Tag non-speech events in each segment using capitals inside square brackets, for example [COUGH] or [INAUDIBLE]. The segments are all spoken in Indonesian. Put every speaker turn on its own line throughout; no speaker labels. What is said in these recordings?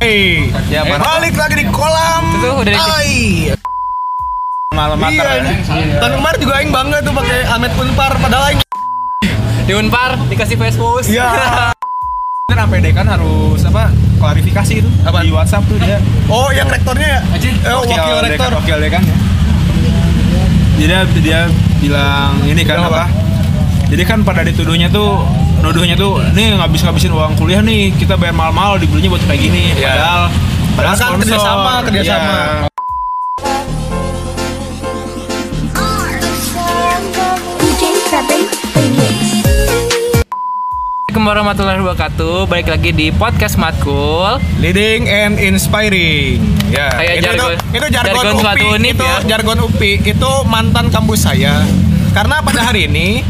Eh,
Ya,
eh,
Pak.
balik lagi di kolam.
Itu tuh udah di-
Ai.
malam ya.
Iya.
matar
anjing. Tahun kemarin juga aing bangga tuh pakai Ahmed Unpar padahal aing.
di Unpar dikasih Facebook. [LAUGHS]
[LAUGHS] Iya.
Kan APD kan harus apa klarifikasi itu
Apaan?
di WhatsApp tuh dia
Oh, yang rektornya ya?
Anjing.
Eh, wakil, rektor. Iya.
dekan, wakil dekan ya. Jadi dia- dia bilang ini kan
Bilang apa?
apa? Jadi kan pada dituduhnya tuh nuduhnya tuh nih ngabis ngabisin uang kuliah nih kita bayar mahal-mahal dibelinya buat kayak gini
Iya.
padahal
Padahal kan
sponsor.
kerjasama, kerjasama.
Iya.
DJ Fabric Remix.
Assalamualaikum warahmatullahi wabarakatuh. Balik lagi di podcast Matkul.
Leading and inspiring. Ya.
Kayak
itu,
jargon-
itu, itu jargon,
jargon
UPI.
suatu unit
itu
ya.
jargon UPI. Itu mantan kampus saya. Karena pada hari ini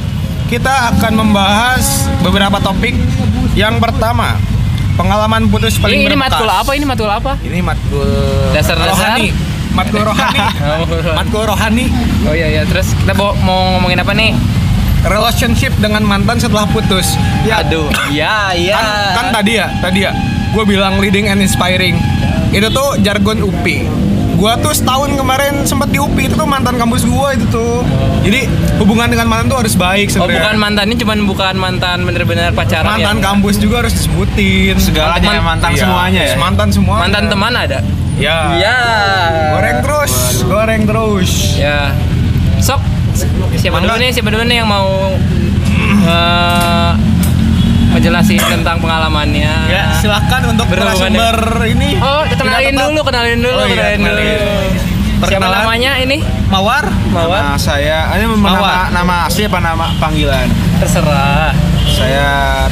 kita akan membahas beberapa topik. Yang pertama, pengalaman putus paling
Ini, ini
berbekas.
matkul apa? Ini matkul apa?
Ini matkul
Dasar-dasar.
rohani. Matkul
[LAUGHS]
rohani. matkul rohani.
Oh iya iya, terus kita bawa- mau ngomongin apa nih?
Relationship dengan mantan setelah putus. Ya,
Aduh. Iya, iya.
kan, kan tadi ya tadi ya gue bilang leading and inspiring itu tuh jargon UPI gue tuh setahun kemarin sempat di UPI itu tuh mantan kampus gue itu tuh jadi hubungan dengan mantan tuh harus baik
Oh, bukan
sebenarnya
mantannya cuman bukan mantan bener-bener pacaran
mantan
ya.
kampus juga harus disebutin iya.
Segalanya ya, mantan semuanya ya?
mantan semua
Mantan teman ada?
ya
Iya.
goreng terus goreng terus
Ya. Sok siapa dulu
Mangga.
nih? Siapa dulu nih yang mau eh menjelasin tentang pengalamannya?
ya silakan untuk
Berhubungan
narasumber ini
Oh,
Tidak
kenalin
tetap.
dulu, kenalin dulu,
Oh iya,
kenalin dulu.
kenalin.
Siapa
Perkenalan.
namanya ini?
mawar eh,
Mawar.
Nah, saya ini
Mawar.
nama, nama asli apa nama panggilan?
Terserah.
Saya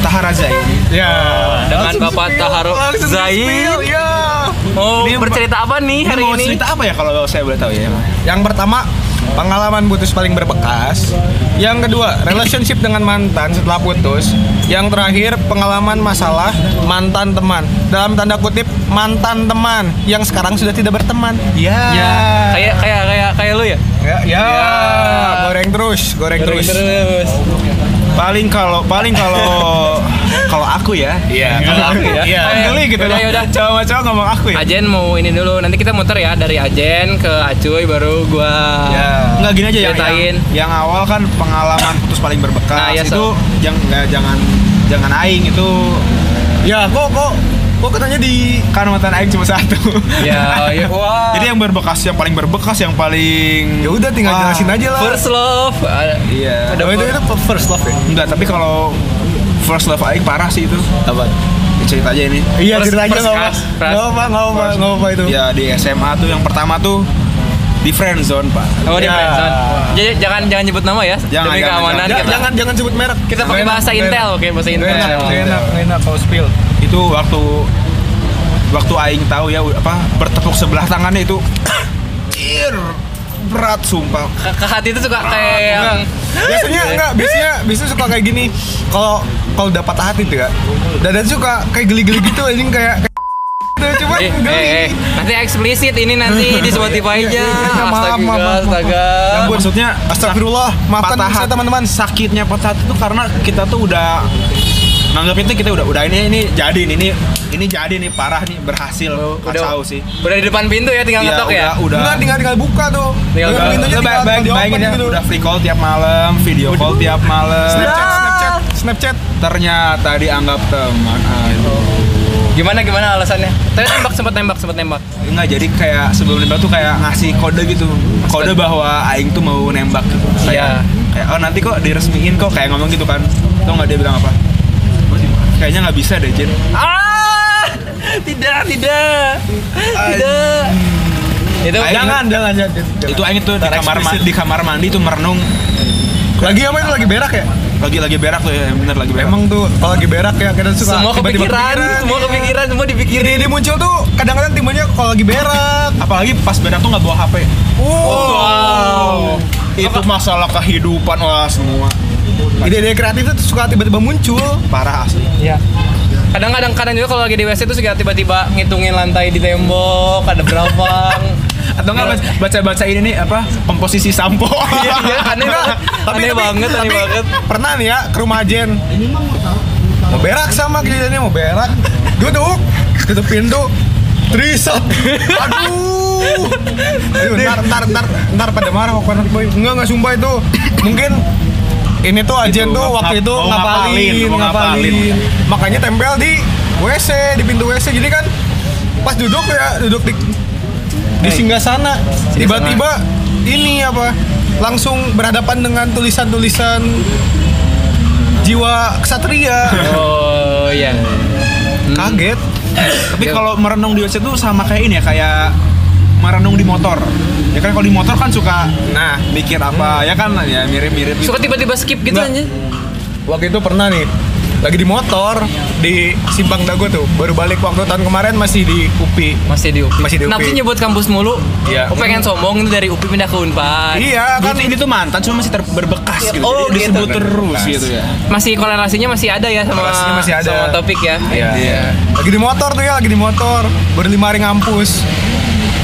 Tahara Zaini.
ya
dengan
Langsung
Bapak
spill,
Taharul
langsung
Zain.
spill, ya
Oh,
Ini
bercerita apa nih hari
mau
ini?
cerita apa ya kalau saya boleh tahu ya?
Yang pertama, pengalaman putus paling berbekas. Yang kedua, relationship dengan mantan setelah putus. Yang terakhir, pengalaman masalah mantan teman. Dalam tanda kutip, mantan teman yang sekarang sudah tidak berteman. Ya.
Ya, kayak kayak kayak kayak lu ya?
Ya, ya.
Ya.
goreng terus, goreng, terus.
Terus.
Paling kalau paling kalau kalau aku ya.
Iya, kalau aku ya.
Iya.
Kayak-
Geli gitu
Udah,
loh.
yaudah.
Cowok-cowok ngomong aku ya.
Ajen mau ini dulu. Nanti kita muter ya dari Ajen ke Acuy baru gua.
Ya.
Enggak gini aja yang,
Ceritain.
yang yang awal kan [COUGHS] pengalaman putus paling berbekas
Nah, ya,
itu
so.
jangan jangan jangan aing itu
Ya,
Iya.
kok kok kok katanya di
kan mantan aing cuma satu.
Ya, oh,
[LAUGHS]
iya. Wah.
Jadi yang berbekas yang paling berbekas yang paling
Ya udah tinggal
Wah.
jelasin aja lah.
First love. Ah, Ada-
Iya.
Oh, itu, itu first love ya.
Enggak, tapi kalau first love aing parah sih itu.
Apa?
Ya, Cerita aja ini.
Iya,
First-
cerita aja
first
enggak apa.
crush, crush.
Enggak apa, enggak apa, enggak apa itu.
Ya di SMA tuh yang pertama tuh di friend zone, Pak.
Oh, di
Ya.
friendzone. Jadi jangan jangan nyebut nama ya.
Jangan,
Demi
jangan,
keamanan
Ja-
kita.
jangan jangan sebut merek.
Kita pakai
Enak,
bahasa
enak.
intel, oke bahasa
Nggak
intel.
enak, nggak enak, nggak enak kalau spill.
Itu waktu waktu aing tahu ya apa bertepuk sebelah tangannya itu Anjir, berat sumpah.
Ke, ke hati itu suka kayak yang
Biasanya enggak, biasanya biasanya suka kayak gini. Kalau kalau dapat hati tuh ya. Dadan suka kayak geli-geli gitu anjing kayak kayak gitu cuman
Eh,
geli.
eh, eh, nanti eksplisit ini nanti di
Iya,
Spotify aja.
iya, iya, maaf,
Astaga,
maaf, maaf, maaf.
astaga.
Ya, maksudnya
Eh, Astagfirullah, maafkan
patah
saya
hati-
teman-teman.
sakitnya patah hati itu karena kita tuh udah nanggapnya tuh kita udah udah ini ini jadi nih, ini ini jadi nih parah nih berhasil kacau sih.
Udah di depan pintu ya tinggal
Iya,
ngetok ya.
udah.
Enggak tinggal tinggal buka tuh.
Tinggal
Tinggal
buka.
pintunya
Lu
tinggal
bayang- bayang-
tinggal
bayangin
diopen
ya,
gitu.
udah free call tiap malam, video call tiap malam.
Snapchat, Snapchat, Snapchat.
Ternyata dianggap teman. ah, Aduh.
Gimana gimana alasannya? Tadi tembak sempat tembak sempat tembak.
Enggak, jadi kayak sebelum nembak tuh kayak ngasih kode gitu. Kode bahwa aing tuh mau nembak gitu.
Iya.
Kayak kayak oh nanti kok diresmiin kok kayak ngomong gitu kan. Tuh nggak dia bilang apa? Kayaknya nggak bisa deh, Jin.
Ah! [LAUGHS] Tidak, tidak. Tidak. Itu
Ayo,
Jangan, jangan, jangan.
Itu aing tuh di
Ntar
kamar ma-
eksplisit.
di kamar mandi tuh merenung
Lagi apa itu lagi berak ya?
lagi lagi berak tuh ya, bener lagi berak.
Emang tuh kalau lagi berak ya kadang suka
semua
tiba-tiba
kepikiran, semua kepikiran, semua
Ide
dipikirin.
ide muncul tuh kadang-kadang timbulnya kalau lagi berak.
apalagi pas berak tuh nggak bawa HP.
Wow.
Itu masalah kehidupan wah semua.
Ide-ide kreatif itu suka tiba-tiba muncul.
Parah asli.
Iya.
Kadang-kadang kadang juga kalau lagi di WC itu suka tiba-tiba ngitungin lantai di tembok, ada berapa.
[LAUGHS]
Atau nggak baca-baca ini nih apa komposisi sampo.
Iya,
[LAUGHS]
aneh,
Enggak,
aneh banget, aneh
tapi
banget.
Pernah nih ya ke rumah Jen. mau berak sama kejadiannya mau berak duduk tutup pintu trisat aduh aduh ntar ntar ntar ntar pada marah kok anak boy enggak enggak sumpah itu mungkin ini tuh ajen
Itu,
tuh
ngap-
waktu itu
oh,
ngapalin
ngapalin, oh, ngapalin.
ngapalin makanya tempel di WC di pintu WC jadi kan pas duduk ya duduk di di singgah sana tiba-tiba ini apa langsung berhadapan dengan tulisan-tulisan jiwa [LAUGHS] kesatria
Oh iya.
kaget
Tapi
Iya.
kalau merenung di WC itu sama kayak ini ya, kayak merenung di motor. Ya kan kalau di motor kan suka
nah
mikir apa, ya kan ya mirip-mirip gitu.
Suka tiba-tiba skip gitu
Nggak.
aja.
waktu itu pernah nih lagi di motor di simpang dago tuh baru balik waktu tahun kemarin masih di UPI
Masih di UPI.
Masih di UPI.
Kenapa sih nyebut kampus mulu?
Iya.
Aku pengen sombong itu dari UPI pindah ke Unpad.
iya kan
kan ini tuh mantan cuma masih ter- berbekas gitu.
Oh,
Jadi disebut
gitu.
terus gitu ya.
Masih korelasinya masih ada ya sama
Korelasinya masih ada.
sama topik ya.
Iya. Lagi di motor tuh ya, lagi di motor. Baru lima hari ngampus.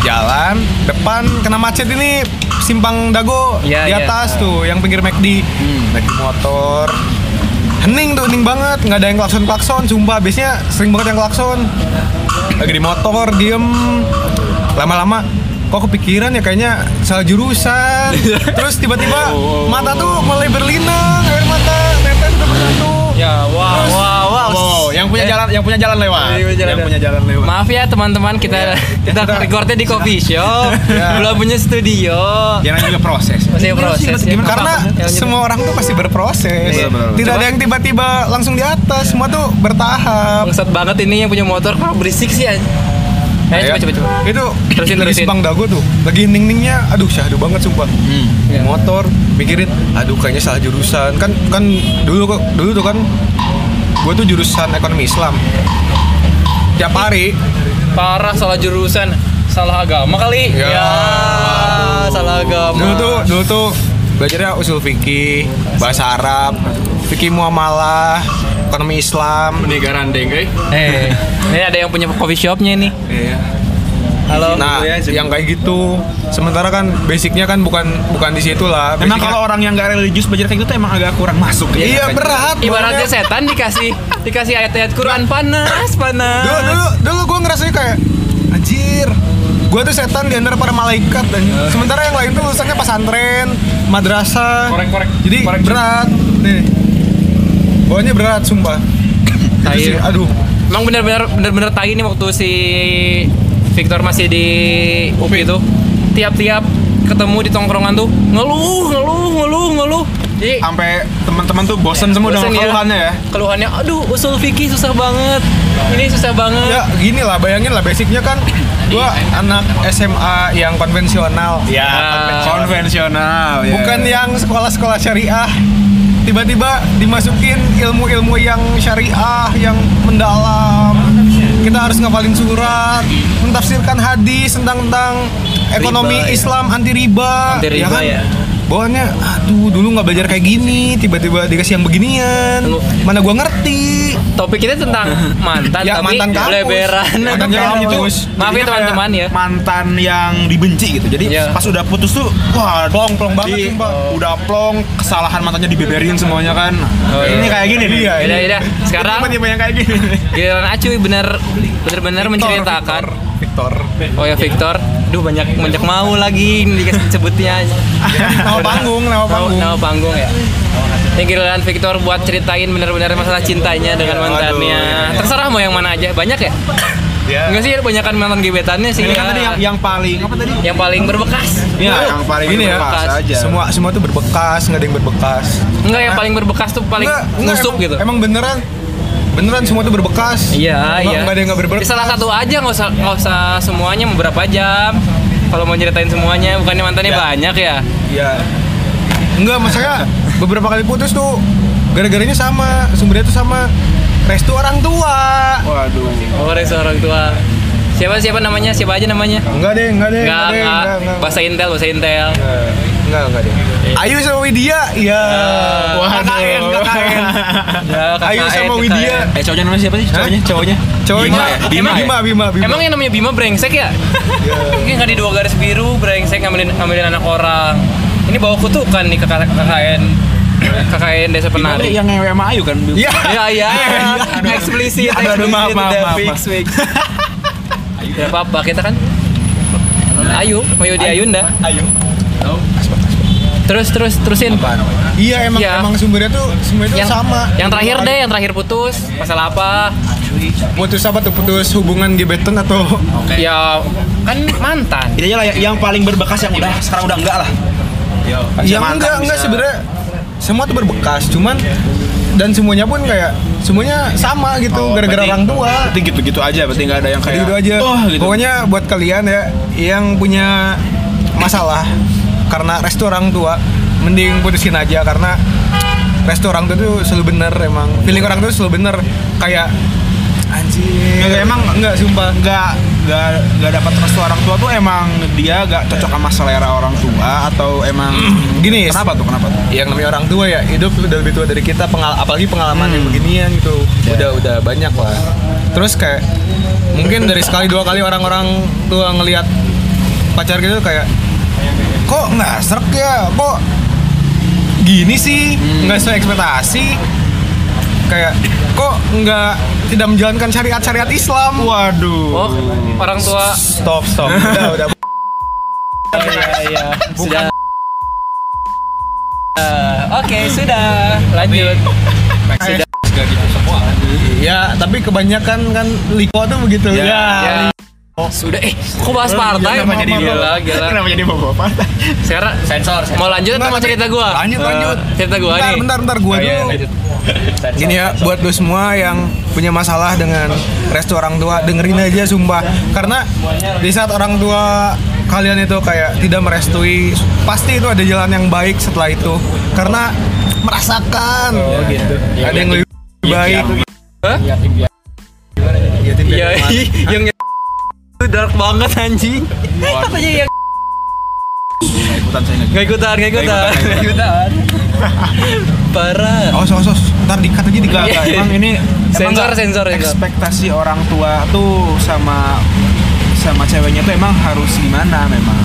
Jalan, depan kena macet ini simpang dago
Iya,
di
iya. Hmm.
atas tuh yang pinggir McD. Naik motor. Hening tuh, hening banget, nggak ada yang klakson-klakson, sumpah biasanya sering banget yang klakson. Lagi di motor, diem. Lama-lama kok kepikiran ya kayaknya salah jurusan.
[LAUGHS]
Terus tiba-tiba mata tuh mulai berlinang, air mata tetes satu persatu.
Ya, wow, wow, wow.
Wow, yang punya
Eh,
jalan yang punya jalan lewat.
Yang punya jalan
yang
lewat.
punya jalan lewat.
Maaf ya teman-teman
Iya.
kita [LAUGHS] kita recordnya di coffee shop,
Ya.
belum punya studio.
Ya namanya juga proses.
Masih proses. ya.
Karena
Ya, lanjut.
semua orang tuh pasti berproses.
Iya, benar, benar.
Tidak ada yang tiba-tiba langsung di atas. Semua tuh bertahap.
bangsat banget ini yang punya motor kenapa berisik sih anj- Ayo, Eh,
Iya.
coba coba coba.
Ya. Itu
Terusin,
dari
terusin.
Simpang Dago tuh. Lagi ning-ningnya aduh syahdu banget sumpah.
Iya.
Motor mikirin aduh kayaknya salah jurusan. Kan kan dulu kok dulu tuh kan gue tuh jurusan ekonomi Islam. Tiap
Iya.
hari
Parah salah jurusan, salah agama kali.
Ya.
Ya, salah agama.
Dulu tuh, dulu tuh belajarnya usul fikih, bahasa Arab, fikih muamalah, ekonomi Islam.
Negara dengkai.
Eh, ini ada yang punya coffee shopnya ini.
Iya.
Halo.
Nah, yang kayak gitu. Sementara kan basicnya kan bukan bukan di situ lah.
Emang
Basicnya-
kalau orang yang nggak religius belajar kayak gitu tuh emang agak kurang masuk ya.
iya berat.
Ibaratnya
soalnya.
setan dikasih dikasih ayat-ayat Quran panas panas.
dulu dulu dulu gue ngerasanya kayak anjir. Gue tuh setan di antara para malaikat dan sementara yang lain tuh lulusannya pesantren, madrasah.
Korek, korek.
Jadi
Korek.
berat. Nih. Pokoknya berat sumpah. Itu sih,
Tai.
aduh.
Emang bener-bener bener-bener tai ini waktu si Victor masih di UPI itu tiap-tiap ketemu di tongkrongan tuh ngeluh ngeluh ngeluh ngeluh. Jadi
Sampai teman-teman tuh Iya, bosen semua dengan
Bosen ya.
keluhannya ya.
keluhannya aduh usul fikih susah banget ini susah banget
ya gini lah bayangin lah basicnya
[COUGHS]
kan gua anak SMA yang konvensional
Ya, konvensional ya.
bukan yang sekolah-sekolah syariah tiba-tiba dimasukin ilmu-ilmu yang syariah yang mendalam kita harus ngapalin surat mentafsirkan hadis tentang tentang ekonomi
Riba, ya.
Islam anti riba
Anti riba, ya.
Bawaannya, aduh dulu nggak belajar kayak gini, tiba-tiba dikasih yang beginian.
Lu-
Mana gua ngerti.
topik kita tentang mantan
Ya,
tapi
mantan kampus.
leberan
Mantan kampus.
itu maaf ya
Jadinya kayak
teman-teman ya
Mantan yang dibenci gitu. Jadi
Iya.
pas udah putus tuh wah plong plong
banget, sumpah.
Udah plong kesalahan mantannya dibeberin semuanya kan. ini kayak gini nih.
Iya,
Yaudah, yaudah. Sekarang-
ya.
tipe yang kayak
[LAUGHS]
gini.
giliran acuy bener bener-bener menceritakan
Victor. Victor.
oh ya Victor duh banyak banyak mau lagi ini dikasih sebutnya
Nama panggung, nama panggung.
nama panggung ya yang giliran Victor buat ceritain bener-bener masalah cintanya dengan mantannya
iya.
terserah mau yang mana aja banyak ya
Ya.
enggak sih banyakan mantan gebetannya sih
Ini
ya.
kan tadi yang yang paling apa tadi?
yang paling berbekas
Iya,
Iya,
yang paling
gini ya.
berbekas aja.
Iya.
Semua semua tuh berbekas, nggak ada yang berbekas.
Enggak yang
Karena-
paling berbekas tuh paling
Nggak, nggak,
nusuk
emang-
gitu.
Emang beneran, beneran semua tuh berbekas.
Iya,
Nggak-
iya.
nggak ada yang nggak berbekas.
Salah satu aja nggak usah nggak usah semuanya beberapa jam. Kalau mau ceritain semuanya, bukannya mantannya
Ya.
banyak ya?
Iya. Enggak, maksudnya beberapa kali putus tuh gara-garanya sama, sumbernya tuh sama. Restu orang tua.
Waduh.
Orang seorang tua. Siapa siapa namanya? Siapa aja namanya?
Enggak deh, enggak deh,
Enggak,
deh,
enggak. Bahasa Intel, bahasa Intel.
Eh, Enggak, enggak deh. Ayu sama Widya, iya.
Ah. Waduh.
KKN,
[LAUGHS]
KKN.
Ya,
Ayu
KKN,
sama
KKN.
Widya.
Eh cowoknya namanya siapa sih? Cowoknya, cowoknya.
Cowoknya
Bima ya?
Bima,
Emang-
Bima, Bima, Bima. Iya.
Emang yang namanya Bima brengsek ya? [LAUGHS] Mungkin nggak di dua garis biru brengsek ngambilin ngambilin anak orang. Ini bawa kutukan nih ke KKN. KKN Desa Penari.
Yang ngewe sama Ayu kan? [LAUGHS]
Iya.
Ya ya,
Aduh.
eksplisit,
Aduh, aduh, maaf,
eksplisit,
maaf,
udah
maaf,
fix, fix. Ya apa-apa, kita kan Ayu, Mayu di Ayunda.
Ayu.
Terus terus terusin.
Iya emang
Iya.
emang sumbernya tuh semuanya tuh sama.
Yang terakhir deh, yang terakhir putus. Masalah apa?
Putus apa tuh? Putus hubungan gebetan atau
Ya kan mantan.
Intinya lah yang- yang paling berbekas yang udah sekarang udah enggak lah.
Yang Ya, enggak enggak sebenarnya semua tuh berbekas, cuman dan semuanya pun kayak semuanya sama gitu gara-gara orang tua.
Oh, Berarti gitu-gitu aja, berarti nggak ada yang kayak.
Gitu aja.
Oh, gitu.
Pokoknya buat kalian ya yang punya masalah karena restu orang tua mending putusin aja karena restu orang tua tuh selalu bener emang. Feeling orang tua tuh selalu bener kayak anjir.
Nggak, emang
enggak sumpah.
nggak nggak nggak dapat restu orang tua tuh emang dia nggak cocok sama selera orang tua atau emang
[CLEARS THROAT] Gini,
kenapa tuh kenapa tuh?
yang namanya orang tua ya hidup udah lebih tua dari kita pengal apalagi pengalaman yang beginian gitu udah udah banyak lah terus kayak mungkin dari sekali dua kali orang-orang tua ngelihat pacar gitu kayak kok nggak srek ya kok gini sih
Hmm.
nggak sesuai ekspektasi kayak kok nggak tidak menjalankan syariat-syariat Islam waduh
Oh, orang tua.
stop
[LAUGHS]
stop udah udah
Iya, iya. Sudah. Eh, Oke, sudah. Lanjut.
sudah ya tapi kebanyakan kan liko tuh begitu
Ya.
Ya. Sudah eh kok bahas partai
Kenapa jadi
gila
bawa-
gila.
Kenapa jadi bawa [LAUGHS] bawa partai?
Sekarang sensor. Mau lanjut
Nggak,
atau
lanjut.
cerita gua?
Lanjut, lanjut.
Eh, Cerita gua
bentar,
nih.
bentar, bentar, gua dulu. [LAUGHS] Gini ya, buat lo semua yang punya masalah dengan restu orang tua, dengerin aja sumpah. Karena di saat orang tua kalian itu kayak tidak merestui, pasti itu ada jalan yang baik setelah itu. Karena merasakan. Ada yang lebih baik.
Hah? Iya, ih, yang itu dark banget anjing. Katanya yang
Nggak ikutan saya nggak.
nggak ikutan, nggak ikutan,
Nggak ikutan, nggak
nggak ikutan. Parah.
Oh, sos, sos, ntar dikat aja dikat.
Iya.
Nggak, emang ini emang
Sensor,
nggak-
sensor, sensor.
ekspektasi orang tua tuh sama sama ceweknya tuh emang harus gimana memang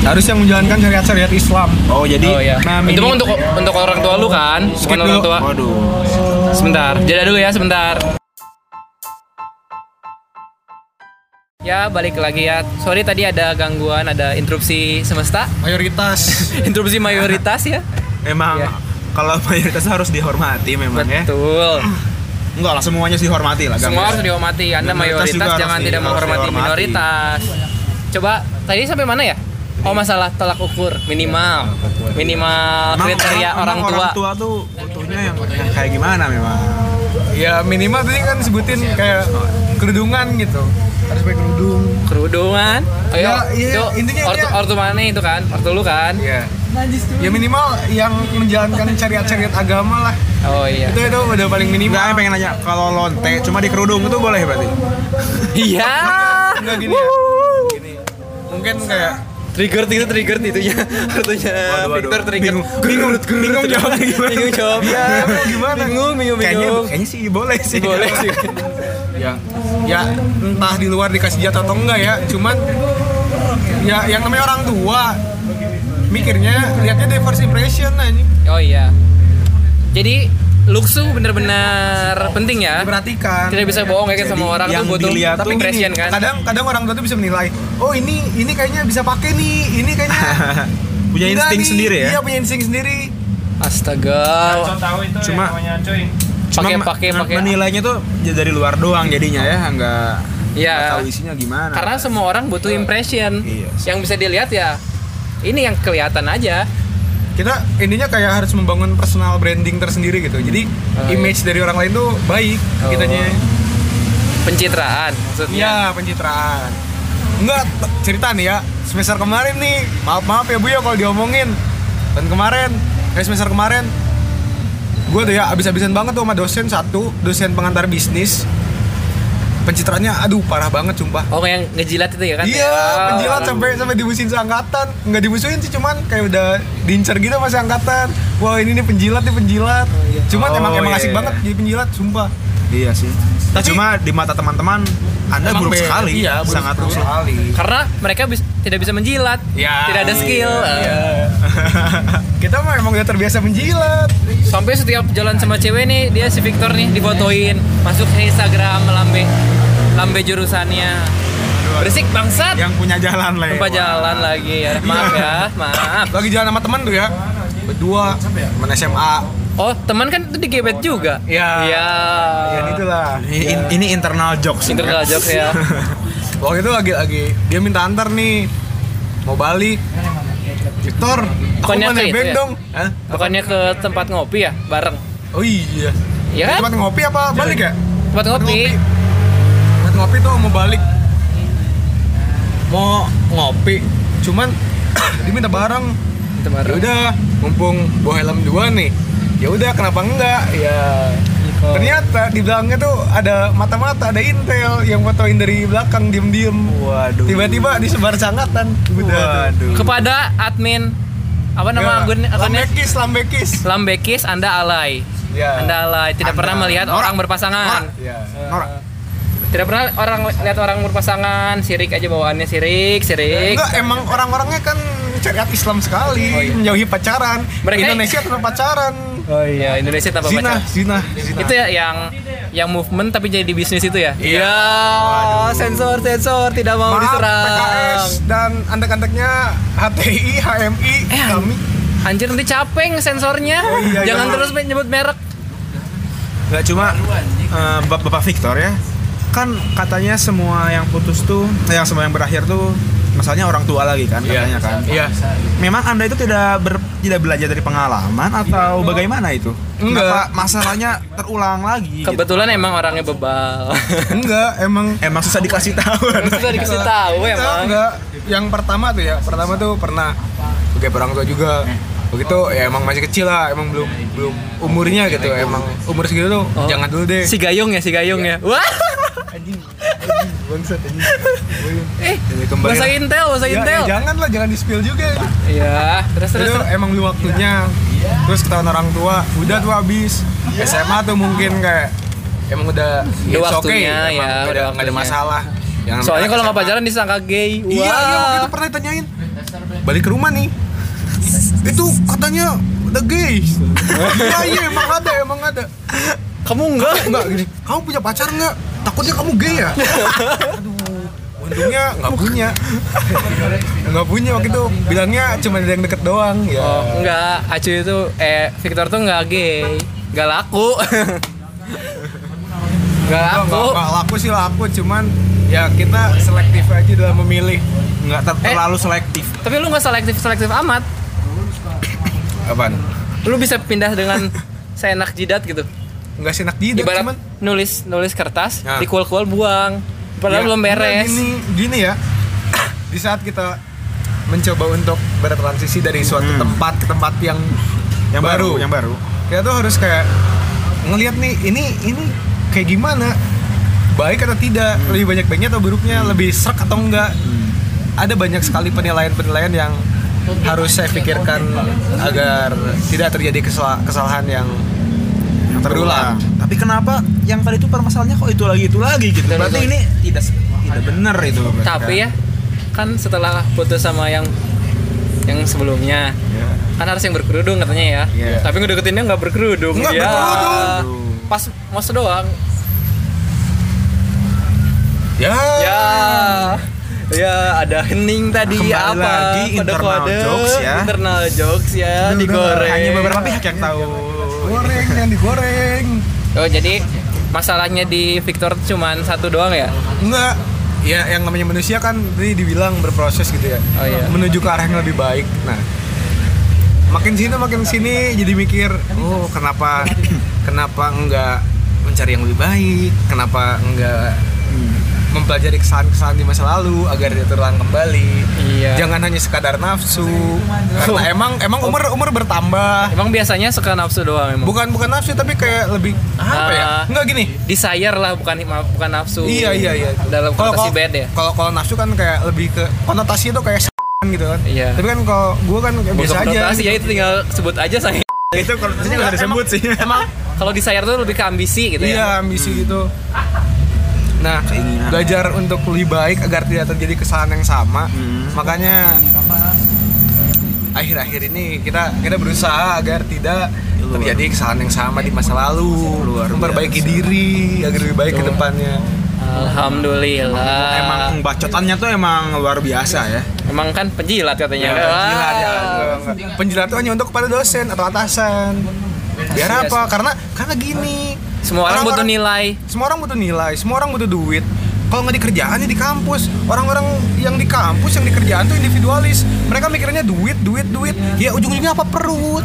Harus yang menjalankan syariat-syariat Islam.
oh jadi
Oh iya.
nah,
Itu
mini-
mah untuk untuk orang tua lu kan, bukan
Skip
orang
dulu.
tua.
waduh
Sebentar, jeda dulu ya sebentar. Ya, balik lagi ya. Sorry tadi ada gangguan, ada interupsi semesta, [LAUGHS]
Mayoritas
interupsi mayoritas ya.
emang
Iya.
kalau mayoritas harus dihormati memang ya
Betul.
enggak lah semuanya sih dihormati lah Gang.
Semua harus dihormati. Anda
Minoritas
mayoritas
ya. juga harus
jangan
di-
tidak
harus
menghormati
dihormati.
minoritas. Coba tadi sampai mana ya? Oh, masalah tolak ukur minimal. Minimal
Emang
kriteria
emang
orang tua.
orang tua tuh butuhnya yang, yang kayak gimana memang
[LAUGHS]
[LAUGHS]
Ya minimal tadi kan sebutin kayak kerudungan gitu. Harus pakai kerudung.
Kerudungan. Ayo,
Ya, iya,
itu
intinya
ortu,
dia-
ortu mana itu kan? Ortu lu kan?
Iya. Ya minimal yang menjalankan syariat-syariat agama lah.
Oh iya.
Itu itu udah paling minimal.
enggak yang pengen nanya kalau lonte cuma di kerudung itu boleh berarti
[LAUGHS] Iya.
Enggak gini ya. Gini. Mungkin kayak
Trigger itu trigger
[LAUGHS]
itunya. Artinya Victor trigger.
bingung bingung jawabnya gimana.
Bingung jawabnya.
Ya, gimana?
Iya. Bingung, bingung,
kayaknya
bingung.
kayaknya sih boleh sih
Boleh sih.
[LAUGHS] Ya. Ya entah di luar dikasih jatah atau enggak ya. Cuman ya yang namanya orang tua mikirnya lihatnya dari first impression aja
[LAUGHS] Oh iya. Jadi looks tuh bener-bener penting ya.
diperhatikan
Tidak bisa bohong kayak sama orang
yang
tuh butuh
dilihat
tapi gini,
impression kan.
kadang kadang orang tua tuh bisa menilai oh ini ini kayaknya bisa pakai nih ini kayaknya
[LAUGHS]
punya
enggak
insting
nih."
sendiri ya
iya punya insting sendiri
Astaga.
cuma
Pakai
cuma
pakai
men-
pakai.
menilainya tuh ya dari luar doang jadinya ya nggak
Eh,
Iya.
nggak tahu isinya gimana
Karena semua orang butuh impression.
Iya.
Yang bisa dilihat ya ini yang kelihatan aja.
kita intinya kayak harus membangun personal branding tersendiri gitu jadi
Oh,
image dari orang lain tuh baik
Oh.
kitanya
Pencitraan maksudnya.
iya pencitraan enggak t- cerita nih ya semester kemarin nih maaf maaf ya bu ya kalau diomongin dan kemarin eh semester kemarin gue tuh ya abis-abisan banget tuh sama dosen satu dosen pengantar bisnis pencitraannya aduh parah banget sumpah
Iya.
Oh yang ngejilat itu ya kan?
Iya,
Oh,
penjilat
orang-
sampai sampai dimusuhin seangkatan. Nggak dimusuhin sih, cuman kayak udah diincar gitu sama seangkatan. Wah, ini nih penjilat nih penjilat. Cuman
Oh,
emang emang
iya,
asik
iya.
banget jadi penjilat, sumpah.
iya sih
Tapi-
cuma di mata teman-teman anda
Emang
buruk
beda.
sekali
Iya, buruk
sangat buruk sekali
sekali.
Karena mereka bis- tidak bisa menjilat.
Ya,
tidak ada skill.
iya,
Eh,
iya. [LAUGHS] kita mah emang udah terbiasa menjilat
Sampai setiap jalan sama cewek nih dia si Victor nih difotoin, masuk ke Instagram melambe lambe jurusannya. Berisik
Ya,
bangsat.
yang punya jalan lah
Lupa jalan lagi ya. Maaf ya, maaf.
lagi jalan sama teman tuh ya berdua teman SMA
Oh, teman kan itu digebet juga.
Iya.
Iya.
ya itulah Iya.
ini, ini internal jokes ini.
Internal jokes ya.
[LAUGHS] waktu itu lagi lagi dia minta antar nih mau balik Victor aku
Bukannya
mau
ke
naik
itu
band
ya?
dong Hah?
Bukannya ke tempat ngopi ya, bareng.
oh iya
Iya kan?
tempat ngopi apa balik ya
Tempat ngopi.
tempat ngopi tuh mau balik mau ngopi cuman [COUGHS] dia minta bareng
Itu
ya
bareng.
udah mumpung bawa helm dua nih ya udah kenapa enggak ya
Gitu.
ternyata di belakangnya tuh ada mata-mata ada intel yang fotoin dari belakang diem-diem
Waduh.
tiba-tiba disebar sangatan udah tuh.
kepada admin apa
Iya.
nama akun akunnya?
lambekis lambekis
Lambekis Anda alay.
Ya.
Anda alay, tidak
Anda.
pernah melihat
Norak.
orang berpasangan.
ya
Norak.
Tidak pernah orang lihat orang berpasangan, sirik aja bawaannya sirik, sirik.
Enggak, emang orang-orangnya kan syariat Islam sekali, menjauhi pacaran.
Oh, iya. Mereka-
Indonesia tanpa pacaran.
Oh iya, Indonesia tanpa
Zina,
pacar.
zina, zina.
Itu ya yang yang movement tapi jadi bisnis itu ya.
Iya.
Ya, sensor sensor tidak mau
Maaf,
diserang.
PKS dan antek-anteknya HTI, HMI,
Eh,
kami.
Anjir nanti capek sensornya.
Oh iya,
Jangan
iya.
terus nyebut merek.
Gak cuma eh, Bap- Bapak Victor ya Kan katanya semua yang putus tuh eh, Yang semua yang berakhir tuh Masalahnya orang tua lagi kan katanya kan
Iya.
Memang anda itu tidak ber- tidak belajar dari pengalaman Atau bagaimana itu?
Enggak.
Kenapa masalahnya terulang
Iya.
lagi gitu?
Kebetulan emang orangnya
[LAUGHS]
bebal.
Enggak, emang
Emang susah dikasih tahu
Sudah dikasih tahu
Enggak,
ya, emang.
iya. enggak. Yang pertama tuh ya, pertama tuh pernah kayak orang tua juga. Begitu ya emang masih kecil lah, emang belum belum umurnya gitu. Emang umur segitu tuh
Oh.
jangan dulu deh.
Si Gayung ya, si Gayung ya. Wah.
Iya. Bangsat anjing.
Eh,
Jadi kembali
bahasa
lah.
Intel, bahasa
Ya,
Intel.
ya jangan lah, jangan di spill juga. itu.
Iya, terus terus.
itu
terus.
emang belum waktunya terus ketahuan orang tua udah tuh habis SMA tuh mungkin kayak emang udah
Udah
it's okay,
waktunya,
emang
ya,
nggak
udah
ada nggak ada
waktunya.
masalah Jangan
Soalnya
bilang
kalau nggak
SMA.
pacaran disangka gay. Wah.
iya iya waktu itu pernah ditanyain balik ke rumah nih itu katanya udah gay iya iya emang ada emang ada
Kamu enggak?
enggak gini kamu punya pacar nggak takutnya kamu gay ya aduh untungnya nggak punya nggak punya waktu itu bilangnya cuma ada yang deket doang ya
Oh, enggak. Acu itu eh Victor tuh enggak gay. Enggak laku. [LAUGHS] Enggak
Nggak,
laku.
nggak, nggak laku sih laku, cuman ya kita selektif aja dalam memilih
Enggak ter-
Eh.
terlalu selektif
Tapi lu enggak selektif-selektif amat. Eh.
Apaan?
Lu bisa pindah
[LAUGHS]
dengan seenak jidat gitu.
Nggak sih enak jidat,
Ibarat
Iya, cuman
nulis nulis kertas,
Nah.
dikual-kual buang. Padahal
Ya,
belum beres.
Gini, gini ya, di saat kita mencoba untuk bertransisi dari suatu tempat ke tempat yang,
Hmm. Yang baru, Yang baru
kita tuh harus kayak ngelihat nih ini ini kayak gimana baik atau tidak
Hmm.
lebih banyak baiknya atau buruknya lebih serak atau enggak ada banyak sekali penilaian-penilaian yang harus saya pikirkan agar tidak terjadi kesala- kesalahan yang
Yang
terulang.
Tapi kenapa yang tadi itu permasalahannya kok itu lagi itu lagi gitu
Betul,
Berarti
betul.
ini tidak tidak benar itu berarti
Tapi ya
Iya.
kan.
kan setelah putus sama yang yang sebelumnya
Ya.
kan harus yang berkerudung katanya ya
Iya.
tapi ngedeketinnya nggak berkerudung
Nggak
ya
berkerudung.
pas mos doang
ya
ya ya ada hening tadi
Kembali
apa
lagi, internal
kode-kode,
jokes ya.
internal jokes ya
Udah,
digoreng
Hanya beberapa pihak yang tahu
goreng yang digoreng
oh jadi masalahnya di Victor cuman satu doang ya
enggak ya yang namanya manusia kan tadi dibilang berproses gitu ya
Oh, iya.
menuju ke arah yang lebih baik nah makin sini makin sini jadi mikir oh kenapa kenapa enggak mencari yang lebih baik kenapa enggak mempelajari kesalahan-kesalahan di masa lalu agar dia terulang kembali
Iya.
jangan hanya sekadar nafsu
[LAUGHS]
karena emang emang umur umur bertambah
emang biasanya suka nafsu doang emang
bukan bukan nafsu tapi kayak lebih apa ya
Ah.
enggak gini
desire lah bukan bukan nafsu
Iya iya iya.
dalam
Kalau-
konteks
kalau-
bed ya
Kalau kalau nafsu kan kayak lebih ke konotasi itu kayak s**an gitu kan.
Iya.
Tapi kan kalau gue kan kayak biasa
Bukan
aja.
konotasi ya itu tinggal sebut aja saya.
Itu kalau nggak usah disebut sih
Emang kalau desire tuh lebih ke ambisi gitu
Iya
ya.
ambisi gitu. Nah,
Keinginan.
belajar untuk lebih baik agar tidak terjadi kesalahan yang sama.
Hmm.
Makanya akhir-akhir ini kita kita berusaha agar tidak terjadi kesalahan yang sama di masa lalu memperbaiki diri agar lebih baik ke depannya
Alhamdulillah.
emang bacotannya tuh emang luar biasa ya
Emang kan penjilat katanya. Wah.
penjilat ya penjilat itu hanya untuk kepada dosen atau atasan biar apa karena karena gini
Semua orang butuh
Orang-orang-
nilai.
semua orang butuh nilai, semua orang butuh duit. Kalau nggak di kerjaan ya di kampus. Orang-orang yang di kampus yang di kerjaan tuh individualis. Mereka mikirnya duit, duit, duit. Ya ujung-ujungnya apa perut.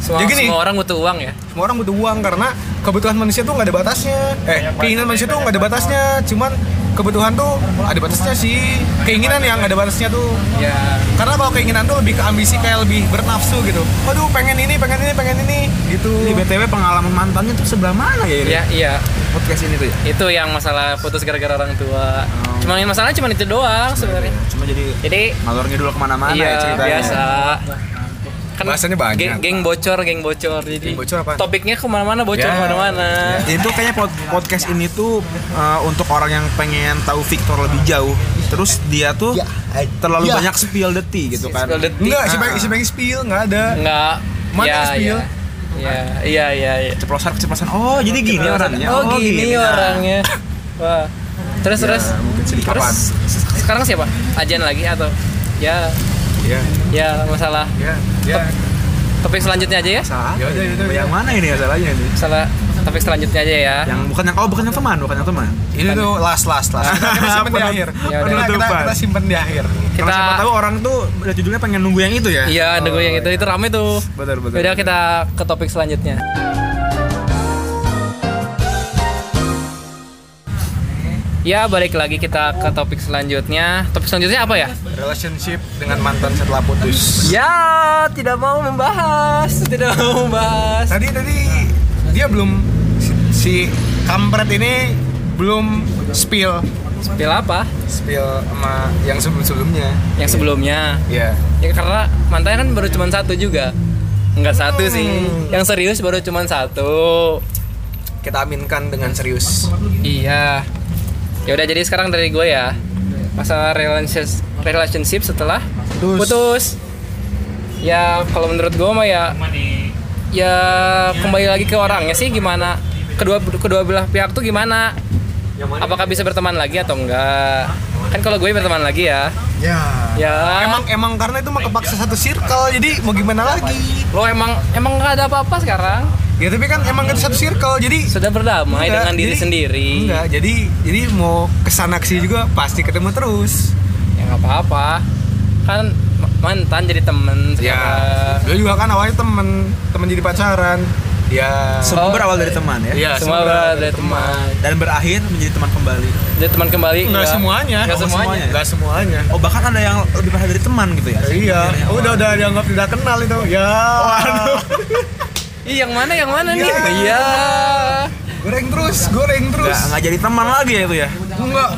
Semua,
Ya gini.
semua orang butuh uang ya.
Semua orang butuh uang karena kebutuhan manusia tuh nggak ada batasnya. Eh, keinginan manusia tuh nggak ada batasnya. Cuman kebutuhan tuh ada batasnya sih. Keinginan yang ada batasnya tuh.
Ya.
Karena kalau keinginan tuh lebih ke ambisi kayak lebih bernafsu gitu. Waduh, pengen ini, pengen ini, pengen ini gitu.
ini btw pengalaman mantannya tuh sebelah mana ya ini
Ya iya.
podcast ini tuh ya
Itu yang masalah putus gara-gara orang tua.
Oh.
Cuma yang masalahnya cuma itu doang sebenarnya.
cuma jadi
Jadi
ngalor ngidul kemana-mana
iya
ya ceritanya
biasa. Kan
Bahasanya banyak.
Geng, geng bocor, geng bocor. Jadi
Geng bocor apaan?
Topiknya kemana-mana bocor
Ya.
kemana-mana.
itu kayaknya pod- podcast ini tuh uh, untuk orang yang pengen tahu Victor lebih jauh terus dia tuh
Ya.
terlalu
Ya.
banyak spill the tea gitu kan
Spill the tea.
Enggak, siapa yang siapa yang spill nggak ada.
Enggak.
Mana
ya,
spill?
ya. Ya, iya, iya, iya.
ceplosan keceplosan oh jadi gini orangnya Nah,
Oh, gini, orangnya. Wah. Terus
Ya,
terus.
mungkin sedikit.
terus sekarang siapa? Ajan lagi atau ya
Ya,
ya masalah
ya, ya.
topik selanjutnya aja ya.
salah
Ya udah, ya udah.
yang mana ini ya salahnya ini
Masalah topik selanjutnya aja ya.
yang bukan yang oh bukan yang teman bukan yang teman
Ini tuh Oh, last last
[LAUGHS]
last. [LAUGHS] Kita simpen di akhir.
Ya udah.
Kita, kita,
Penutupan.
kita simpen di akhir.
kita
Kita
siapa tahu orang tuh udah judulnya pengen nunggu yang itu ya
Iya, ada gue yang itu itu rame tuh.
betul betul
Yaudah kita ke topik selanjutnya. Ya, balik lagi kita ke topik selanjutnya. Topik selanjutnya apa ya?
Relationship dengan mantan setelah putus.
Ya, tidak mau membahas, tidak mau membahas.
Tadi tadi dia belum si- si kampret ini belum spill
Spill apa?
spill sama yang sebelum sebelumnya.
Yang sebelumnya.
Iya.
Ya karena mantannya kan baru cuma satu juga. Enggak satu sih. Yang serius baru cuma satu.
Kita aminkan dengan serius.
Iya. Ya udah jadi sekarang dari gue ya. Masalah relationship relationship setelah putus. Ya kalau menurut gue mah ya ya kembali lagi ke orangnya sih gimana kedua kedua belah pihak tuh gimana apakah bisa berteman lagi atau enggak kan kalau gue berteman lagi ya
Ya.
ya
Emang emang karena itu mah kepaksa satu circle jadi mau gimana lagi?
lo emang emang nggak ada apa-apa sekarang
Ya tapi kan emang itu satu circle jadi
sudah berdamai
Enggak,
dengan diri
jadi-
sendiri
Enggak, jadi jadi mau kesana kesini juga pasti ketemu terus.
ya nggak apa-apa kan ma- mantan jadi temen
Ya,
sekarang
Gue juga kan awalnya temen, temen jadi pacaran. Ya.
Oh.
semua berawal dari teman ya
Iya,
semua berada teman
dan berakhir menjadi teman kembali
jadi teman kembali Iya.
Enggak semuanya.
nggak
Oh,
semuanya
Enggak semuanya.
oh bahkan ada yang lebih parah dari teman gitu ya
Iya, udah udah dianggap tidak kenal itu. Ya. Waduh.
Ih, yang mana yang mana nih
Iya.
iya
goreng terus, goreng terus.
nggak nggak jadi teman lagi ya itu ya
Enggak.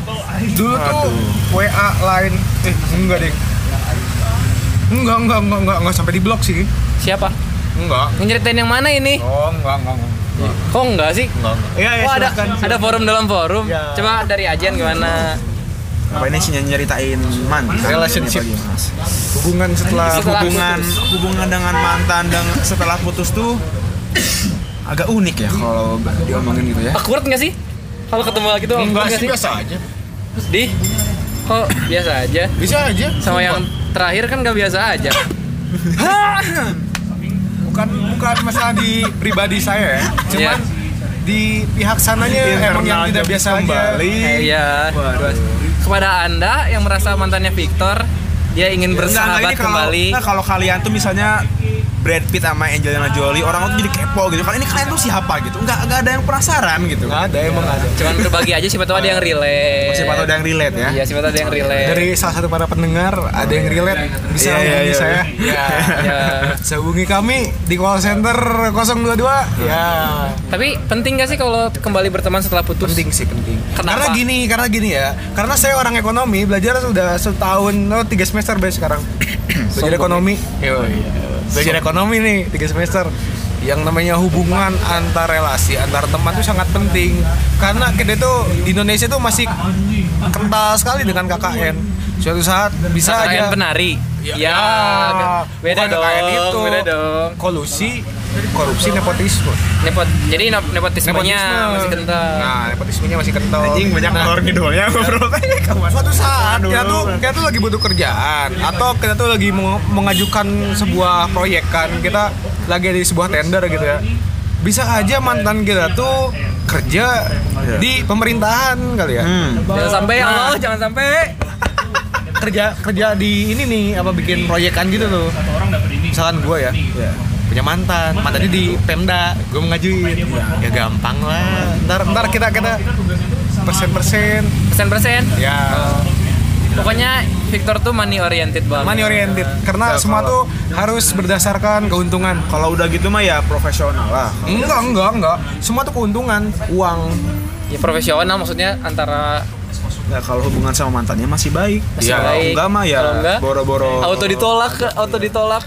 Dulu tuh WA lain. Eh, enggak deh. Enggak, enggak, enggak, enggak, enggak sampai di blok sih.
siapa
Enggak.
Yang ceritain yang mana ini
Oh, enggak, enggak, enggak.
kok enggak sih
Enggak, enggak. Iya, iya,
Oh, ada
silakan.
ada forum dalam forum.
Iya.
Coba dari Ajan gimana?
apa ini sih nyeritain mantan
Relationship.
Ini apa gimana?
hubungan setelah
Setelah
hubungan
putus.
hubungan dengan mantan dan setelah putus tuh agak unik ya kalau diomongin gitu ya
Awkward nggak sih? Kalau ketemu lagi tuh awkward
enggak
nggak
sih biasa aja
Di? Kok biasa aja?
bisa aja
Sama yang terakhir kan nggak biasa aja.
bukan bukan masalah di pribadi saya ya cuman
Iya.
di pihak sananya emang yang tidak biasa
kembali
aja
Iya. Kepada Anda yang merasa mantannya Victor, dia
Iya.
ingin bersahabat kembali.
nah, kalau kalian tuh misalnya Brad Pitt sama Angelina Jolie orang tuh jadi kepo gitu kan ini kalian tuh siapa gitu nggak nggak ada yang penasaran
Ah,
gitu
nggak ada emang nggak ada
Cuman berbagi aja siapa tahu ada yang relate.
siapa tahu ada yang relate ya
Iya, siapa tahu ada yang relate.
dari salah satu para pendengar ada yang relate bisa
Iya, iya,
hubungi
iya.
saya ya.
Ya.
Bisa hubungi kami di call center 022 ya
Tapi penting gak sih kalau kembali berteman setelah putus?
penting sih penting
Kenapa?
karena gini karena gini ya karena saya orang ekonomi belajar sudah setahun oh, tiga semester baru sekarang belajar ekonomi Yoi. belajar ekonomi nih tiga semester yang namanya hubungan antar relasi antar teman itu sangat penting karena kita itu di Indonesia itu masih kental sekali dengan KKN suatu saat bisa
Kalian
aja Iya.
penari. Ya, beda
Ah. bukan
dong,
kayak gitu.
beda dong.
Kolusi, korupsi, nepotisme.
Nepot, jadi nep- nepotismenya
Nepotisme.
masih kental.
Nah, nepotismenya masih kental.
Anjing banyak
Nah,
telur ngidolnya ngobrol tanya kamu.
Suatu saat kita
Aduh.
tuh kita tuh lagi butuh kerjaan atau kita tuh lagi mau mengajukan sebuah proyek kan kita lagi di sebuah tender gitu ya. Bisa aja mantan kita tuh kerja di pemerintahan kali ya.
Hmm.
Jangan sampai ya Allah, jangan sampai.
Kerja kerja di ini nih apa bikin proyekan gitu tuh. Misalkan gue ya, punya mantan, mantannya di Pemda, gue mengajuin. Ya gampang lah. Ntar ntar kita kita persen-persen
Persen-persen.
ya
Pokoknya Victor tuh money oriented banget.
money oriented karena
Ya,
semua tuh
kalau-
harus berdasarkan keuntungan
Kalau udah gitu mah ya profesional lah.
enggak enggak enggak semua tuh keuntungan uang
Ya profesional maksudnya antara
Ya kalau hubungan sama mantannya masih baik.
Masih
ya,
baik.
Kalau enggak mah ya
Kalau enggak,
boro-boro.
auto ditolak, auto ditolak.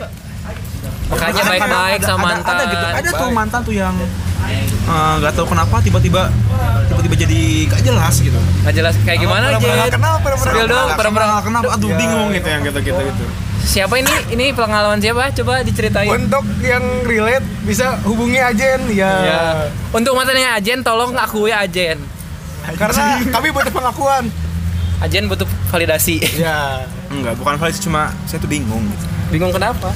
Makanya
Ada-
baik-baik
ada-
sama
ada-
mantan.
Ada, gitu. Ada tuh
Baik.
mantan tuh yang eh, nggak tahu kenapa tiba-tiba tiba-tiba jadi gak jelas gitu.
Nggak jelas kayak gimana aja.
pernah-pernah nggak kenal, pernah-pernah
Spill
nggak
dong,
kenal,
pernah-pernah.
Kenapa kenapa aduh
Ya.
bingung gitu yang gitu-gitu gitu.
Siapa ini? Ini pengalaman siapa? Coba diceritain.
Eh. untuk yang relate bisa hubungi ajen ya,
Ya. Untuk mantannya Ajen tolong akui Ajen.
karena kami butuh pengakuan
Ajen butuh validasi.
ya
Enggak, bukan valid cuma saya tuh bingung gitu.
Bingung kenapa?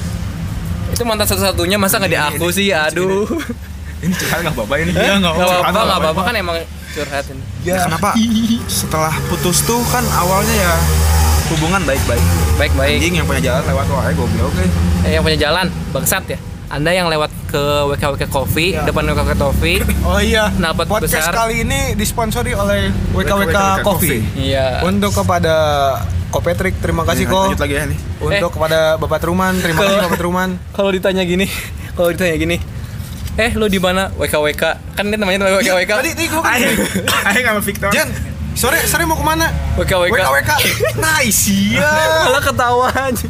Itu mantan satu-satunya masa nggak diaku
Ini-
sih?
ini-
Aduh.
Ini curhat enggak apa-apa ini. Iya,
Nggak apa-apa,
Curhat
nggak apa-apa kan emang curhat ini.
Ya, kenapa setelah putus tuh kan awalnya ya hubungan baik-baik.
Baik-baik.
Anjing yang punya jalan lewat wae goblok eh.
Eh, yang punya jalan bangsat ya anda yang lewat ke WKWK Coffee depan WKWK [LAUGHS] Coffee
oh iya
Kenapa tuh
podcast
besar?
kali ini disponsori oleh
WKWK
WKWK Coffee
iya
untuk kepada Ko Patrick terima kasih
Ini,
kok
Lanjut lagi ya nih.
untuk
Eh.
kepada Bapak Truman terima kasih
Ke-
Bapak Truman
kalau ditanya gini [LAUGHS] kalau ditanya gini eh lu di mana WKWK kan ini namanya WKWK
tadi tadi gua kan
Aing, aing sama Victor.
Jen, sore sore mau kemana?
WKWK
WKWK. Nice
[LAUGHS]
ya.
malah ketawa aja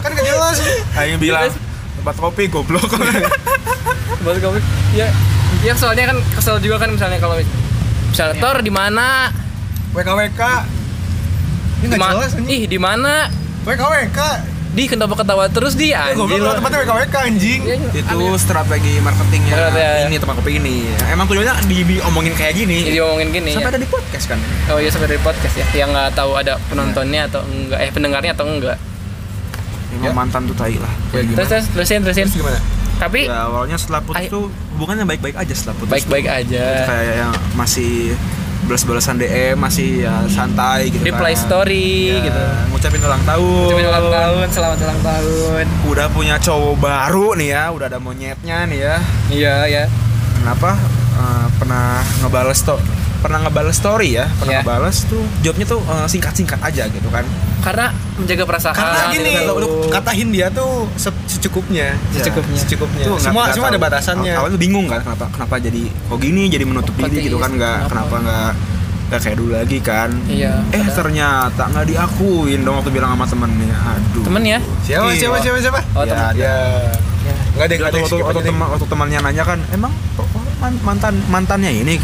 Kan gak jelas.
Aing bilang tempat kopi goblok. [LAUGHS]
Baru kamu- ya ya soalnya kan kesel juga kan misalnya kalau misalnya
Iya.
Tor di mana
WKWK. Ini
Di
gak
ma-
jelas anjing.
ih di mana
WKWK.
di kenapa ketawa terus di
Eh, Goblok
anjing
lu tempatnya WKWK anjing.
Ya,
itu
aneh.
strategi marketingnya
Berat, ya.
ini tempat kopi ini emang tujuannya di- diomongin kayak
jadi
gini
ngomongin gini ya.
sampai ada di podcast kan
Oh iya sampai dari podcast ya, yang nggak tahu ada penontonnya
Iya.
atau enggak, eh pendengarnya atau enggak.
emang mantan tuh tai lah
Ya, terus terus terusin terusin.
Iya, Terus gimana? Iya.
Tapi
ya awalnya setelah putus
Ay-
tuh bukannya baik-baik aja setelah putus
baik-baik
tuh.
aja.
kayak yang masih balas-balasan DM masih ya santai gitu
Reply
kan.
story
Ya,
gitu.
ngucapin ulang tahun
Ucapin ulang tahun, selamat ulang tahun.
udah punya cowok baru nih ya udah ada monyetnya nih ya
Iya ya.
kenapa eh, pernah ngebales to pernah ngebales story ya
Iya.
pernah ngebales tuh jawabnya tuh eh, singkat-singkat aja gitu kan
Karena menjaga perasaan.
Karena gini,
gitu.
katahin dia tuh se- secukupnya.
Secukupnya.
Secukupnya. semua
Tuh, nggak- Iya, nggak
semua
tahu.
ada batasannya.
Awalnya tuh bingung kan kenapa kenapa jadi kok gini jadi menutup
Kok
diri
jadi
gitu kan nggak
kenapa?
kenapa nggak nggak kayak dulu lagi kan.
Iya.
Eh
padahal-
ternyata nggak diakuin dong waktu bilang sama temennya. Aduh.
Temen ya?
Siapa
Iya.
siapa siapa siapa?
Oh,
ya,
temen.
ada.
Ya. Enggak ada
Jadi
enggak
waktu,
ada
waktu,
skip
waktu,
aja deh.
teman, waktu temannya nanya kan emang kok- kok man- mantan mantannya ini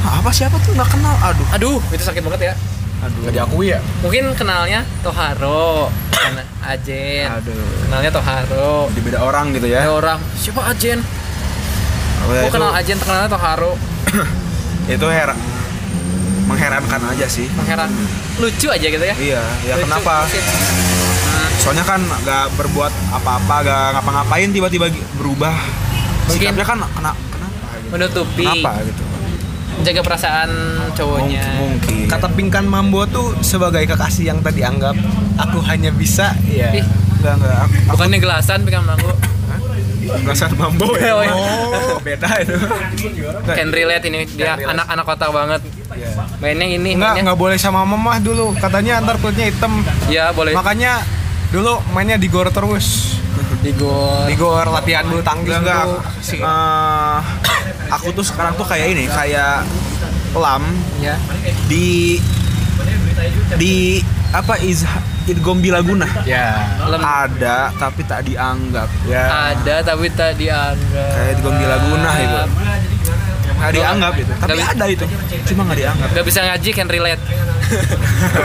"Hah, apa siapa tuh nggak kenal aduh
Aduh, itu sakit banget ya.
aduh
Nggak diakui ya?
Iya.
Mungkin kenalnya Toharo, karena Ajen.
aduh
Kenalnya Toharo.
di beda orang gitu ya
Ada orang, siapa Ajen?
Waktu
Gue
Ya, itu-
Oh, kenal Ajen, kenalnya Toharo.
itu hera mengherankan aja sih
Heran. Lucu aja gitu ya.
iya ya
Lucu,
kenapa
lucu. Nah,
soalnya kan nggak berbuat apa-apa nggak ngapa-ngapain tiba-tiba gi- berubah
Mungkin.
sikapnya kan kena kenapa gitu
menutupi
kenapa gitu
jaga perasaan cowoknya
mungkin mungkin
Kata Pingkan Mambo tuh sebagai kekasih yang tadi anggap aku hanya bisa ya.
Ih,
nggak nggak aku
bukannya gelasan pegang manggo
nggak saat mambo ya
Oh, iya.
oh [LAUGHS] beda itu
can relate ini dia anak-anak kota banget
Iya.
mainnya ini
Enggak,
mainnya
enggak boleh sama mamah dulu. Katanya antar kulitnya hitam.
ya boleh
Eh.
Makanya dulu mainnya di gor terus.
di gor
Di gor latihan bulu tangkis
nggak nggak
dulu.
aku, eh, aku tuh sekarang tuh kayak ini kayak lam
ya
di di apa is Idgombi Laguna
Ya.
Lem-
ada tapi tak dianggap ya
ada tapi tak dianggap
Kayak di Gombi Laguna itu. nggak dianggap gitu tapi
Nggak-
ada itu cuma nggak dianggap [LAUGHS]
nggak bisa ngaji can relate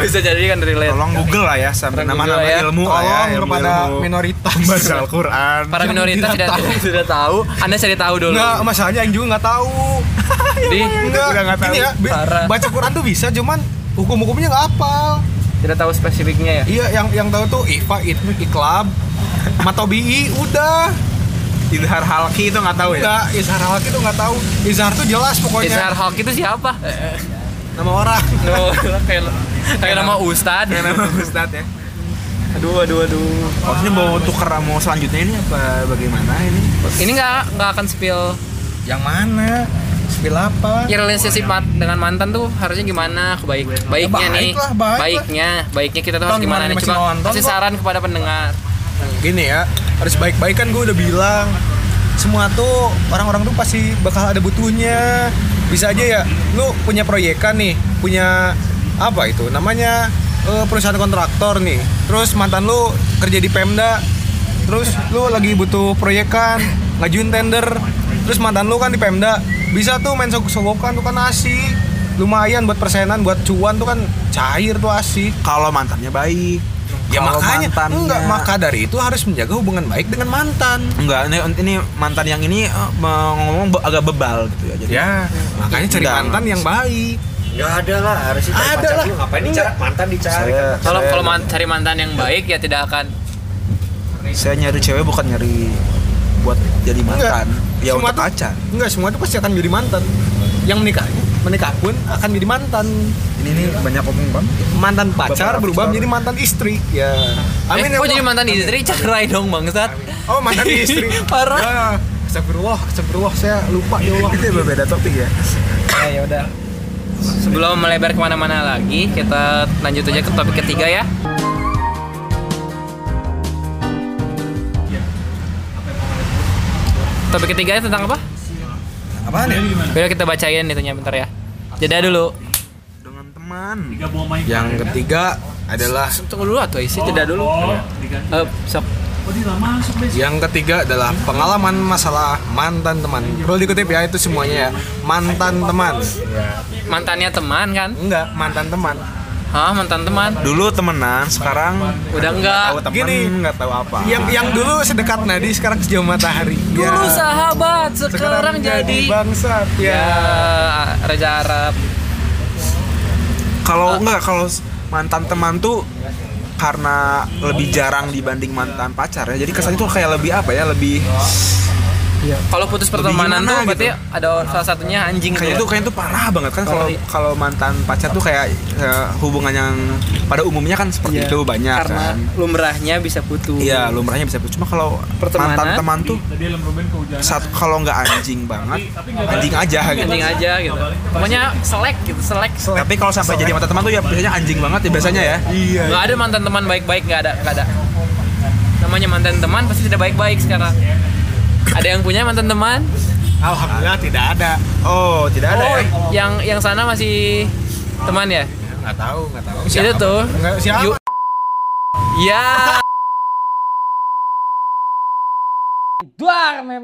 bisa jadi kan relate
Tolong Google lah ya, sampai
Tolong
nama-nama
Google ya.
ilmu lah ya,
Tolong
ilmu,
kepada minoritas.
Baca Al-Quran.
para
Yang
minoritas
tidak
tidak
tahu.
tidak tahu anda cari tahu dulu
Nggak, masalahnya yang juga nggak tahu.
di
Nggak,
Udah nggak tahu.
Ini ya, bi-
Parah.
baca Quran tuh bisa, cuman hukum-hukumnya nggak apal.
tidak tahu spesifiknya ya
Iya, yang yang tahu tuh IFA, it- iklab, matobi'i, udah.
Idhar Halki itu nggak tahu ya?
Nggak, Izhar Halki tuh nggak tahu. Izhar tuh jelas pokoknya.
Izhar Hulk itu siapa?
Nama orang. [LAUGHS]
No, kayak kayak nama Ustad.
Kayak nama Ustadz ya. Aduh, aduh, aduh. Maksudnya mau tuker mau selanjutnya ini apa bagaimana ini?
Ini nggak nggak akan spill
Yang mana? Spill apa?
ya relationship mat- dengan mantan tuh harusnya gimana kebaik baiknya
baik
nih
lah, baik lah.
baiknya baiknya kita tuh harus
Tonton
gimana nih
masih
coba
Ya, nonton
kasih
kok.
saran kepada pendengar
gini ya harus baik-baik kan gue udah bilang semua tuh orang-orang tuh pasti bakal ada butuhnya bisa aja ya lu punya proyekan nih punya apa itu namanya eh, perusahaan kontraktor nih terus mantan lu kerja di Pemda terus lu lagi butuh proyekan ngajuin tender terus mantan lu kan di Pemda bisa tuh main sogokan tuh kan asik lumayan buat persenan buat cuan tuh kan cair tuh asik
Kalau mantannya baik.
Ya
Kalau
makanya
mantannya-
enggak maka dari itu harus menjaga hubungan baik dengan mantan.
Enggak, ini, ini mantan yang ini eh, ngomong be- agak bebal gitu ya. Jadi
Ya, makanya cari
Enggak.
mantan yang baik.
Nggak ada lah, harus dicari
Ada
pacar
lah.
dulu. Ngapain dicari mantan dicari?
saya,
kalau
saya-
kalau man- cari mantan yang baik ya tidak akan
saya nyari cewek bukan nyari buat jadi mantan. Ya
semua
untuk
tuh-
pacar.
Enggak, semua itu pasti akan jadi mantan. Yang menikah, menikah pun akan jadi mantan.
Ini nih banyak omong bang.
Mantan pacar
Bapak
berubah
Rafiq.
menjadi mantan istri. Ya.
eh,
ya
kok
Allah.
jadi mantan istri cerai dong bangsat
Oh, mantan istri.
Parah.
Ya. Astagfirullah, astagfirullah saya lupa ya Allah.
Itu berbeda topik ya.
ya udah sebelum melebar kemana-mana lagi kita lanjut aja ke topik ketiga ya topik ketiganya tentang apa
Apaan ya?
Biar kita bacain itunya bentar ya jeda dulu
Dengan teman.
Yang ketiga adalah
Tunggu dulu atau isi jeda dulu. Eh, sok.
Yang ketiga adalah pengalaman masalah mantan teman. Perlu dikutip ya itu semuanya ya. Mantan teman.
Mantannya teman kan?
Enggak, mantan teman.
Hah, mantan teman.
Dulu temenan, sekarang Ya,
Udah enggak.
tahu temen
Gini.
nggak tahu apa.
Yang yang dulu sedekat nadi sekarang sejauh matahari. Ya.
Dulu sahabat, sekarang, jadi
bangsat
ya
ya.
Raja Arab. Ah.
Kalau nggak kalau s- mantan teman tuh karena lebih jarang dibanding mantan pacar ya. Jadi kesannya tuh kayak lebih apa ya? Lebih
Kalau putus pertemanan tuh
gimana
berarti
gitu?
ada salah satunya anjing
kayaknya tuh
gitu.
kayaknya tuh parah banget kan kalau kalau mantan pacar tuh kayak eh, hubungan yang pada umumnya kan seperti
Iya.
itu banyak
Karena
kan.
lumrahnya bisa putus.
Iya, lumrahnya bisa cuma kalau
Pertemanan.
mantan teman tuh saat kalau nggak anjing banget, anjing aja gitu.
Anjing aja gitu. Pokoknya selek gitu, selek.
Tapi kalau sampai jadi mantan teman tuh ya biasanya anjing banget ya biasanya ya.
Iya.
Gak ada mantan teman baik-baik, gak ada, gak ada. Namanya mantan teman pasti tidak baik-baik sekarang. Ada yang punya mantan teman?
Alhamdulillah tidak ada.
Oh, tidak ada
Oh,
ya.
yang yang sana masih teman ya?
Enggak tahu, enggak tahu.
Itu tuh.
Enggak siapa.
Yu- Iya. Ya.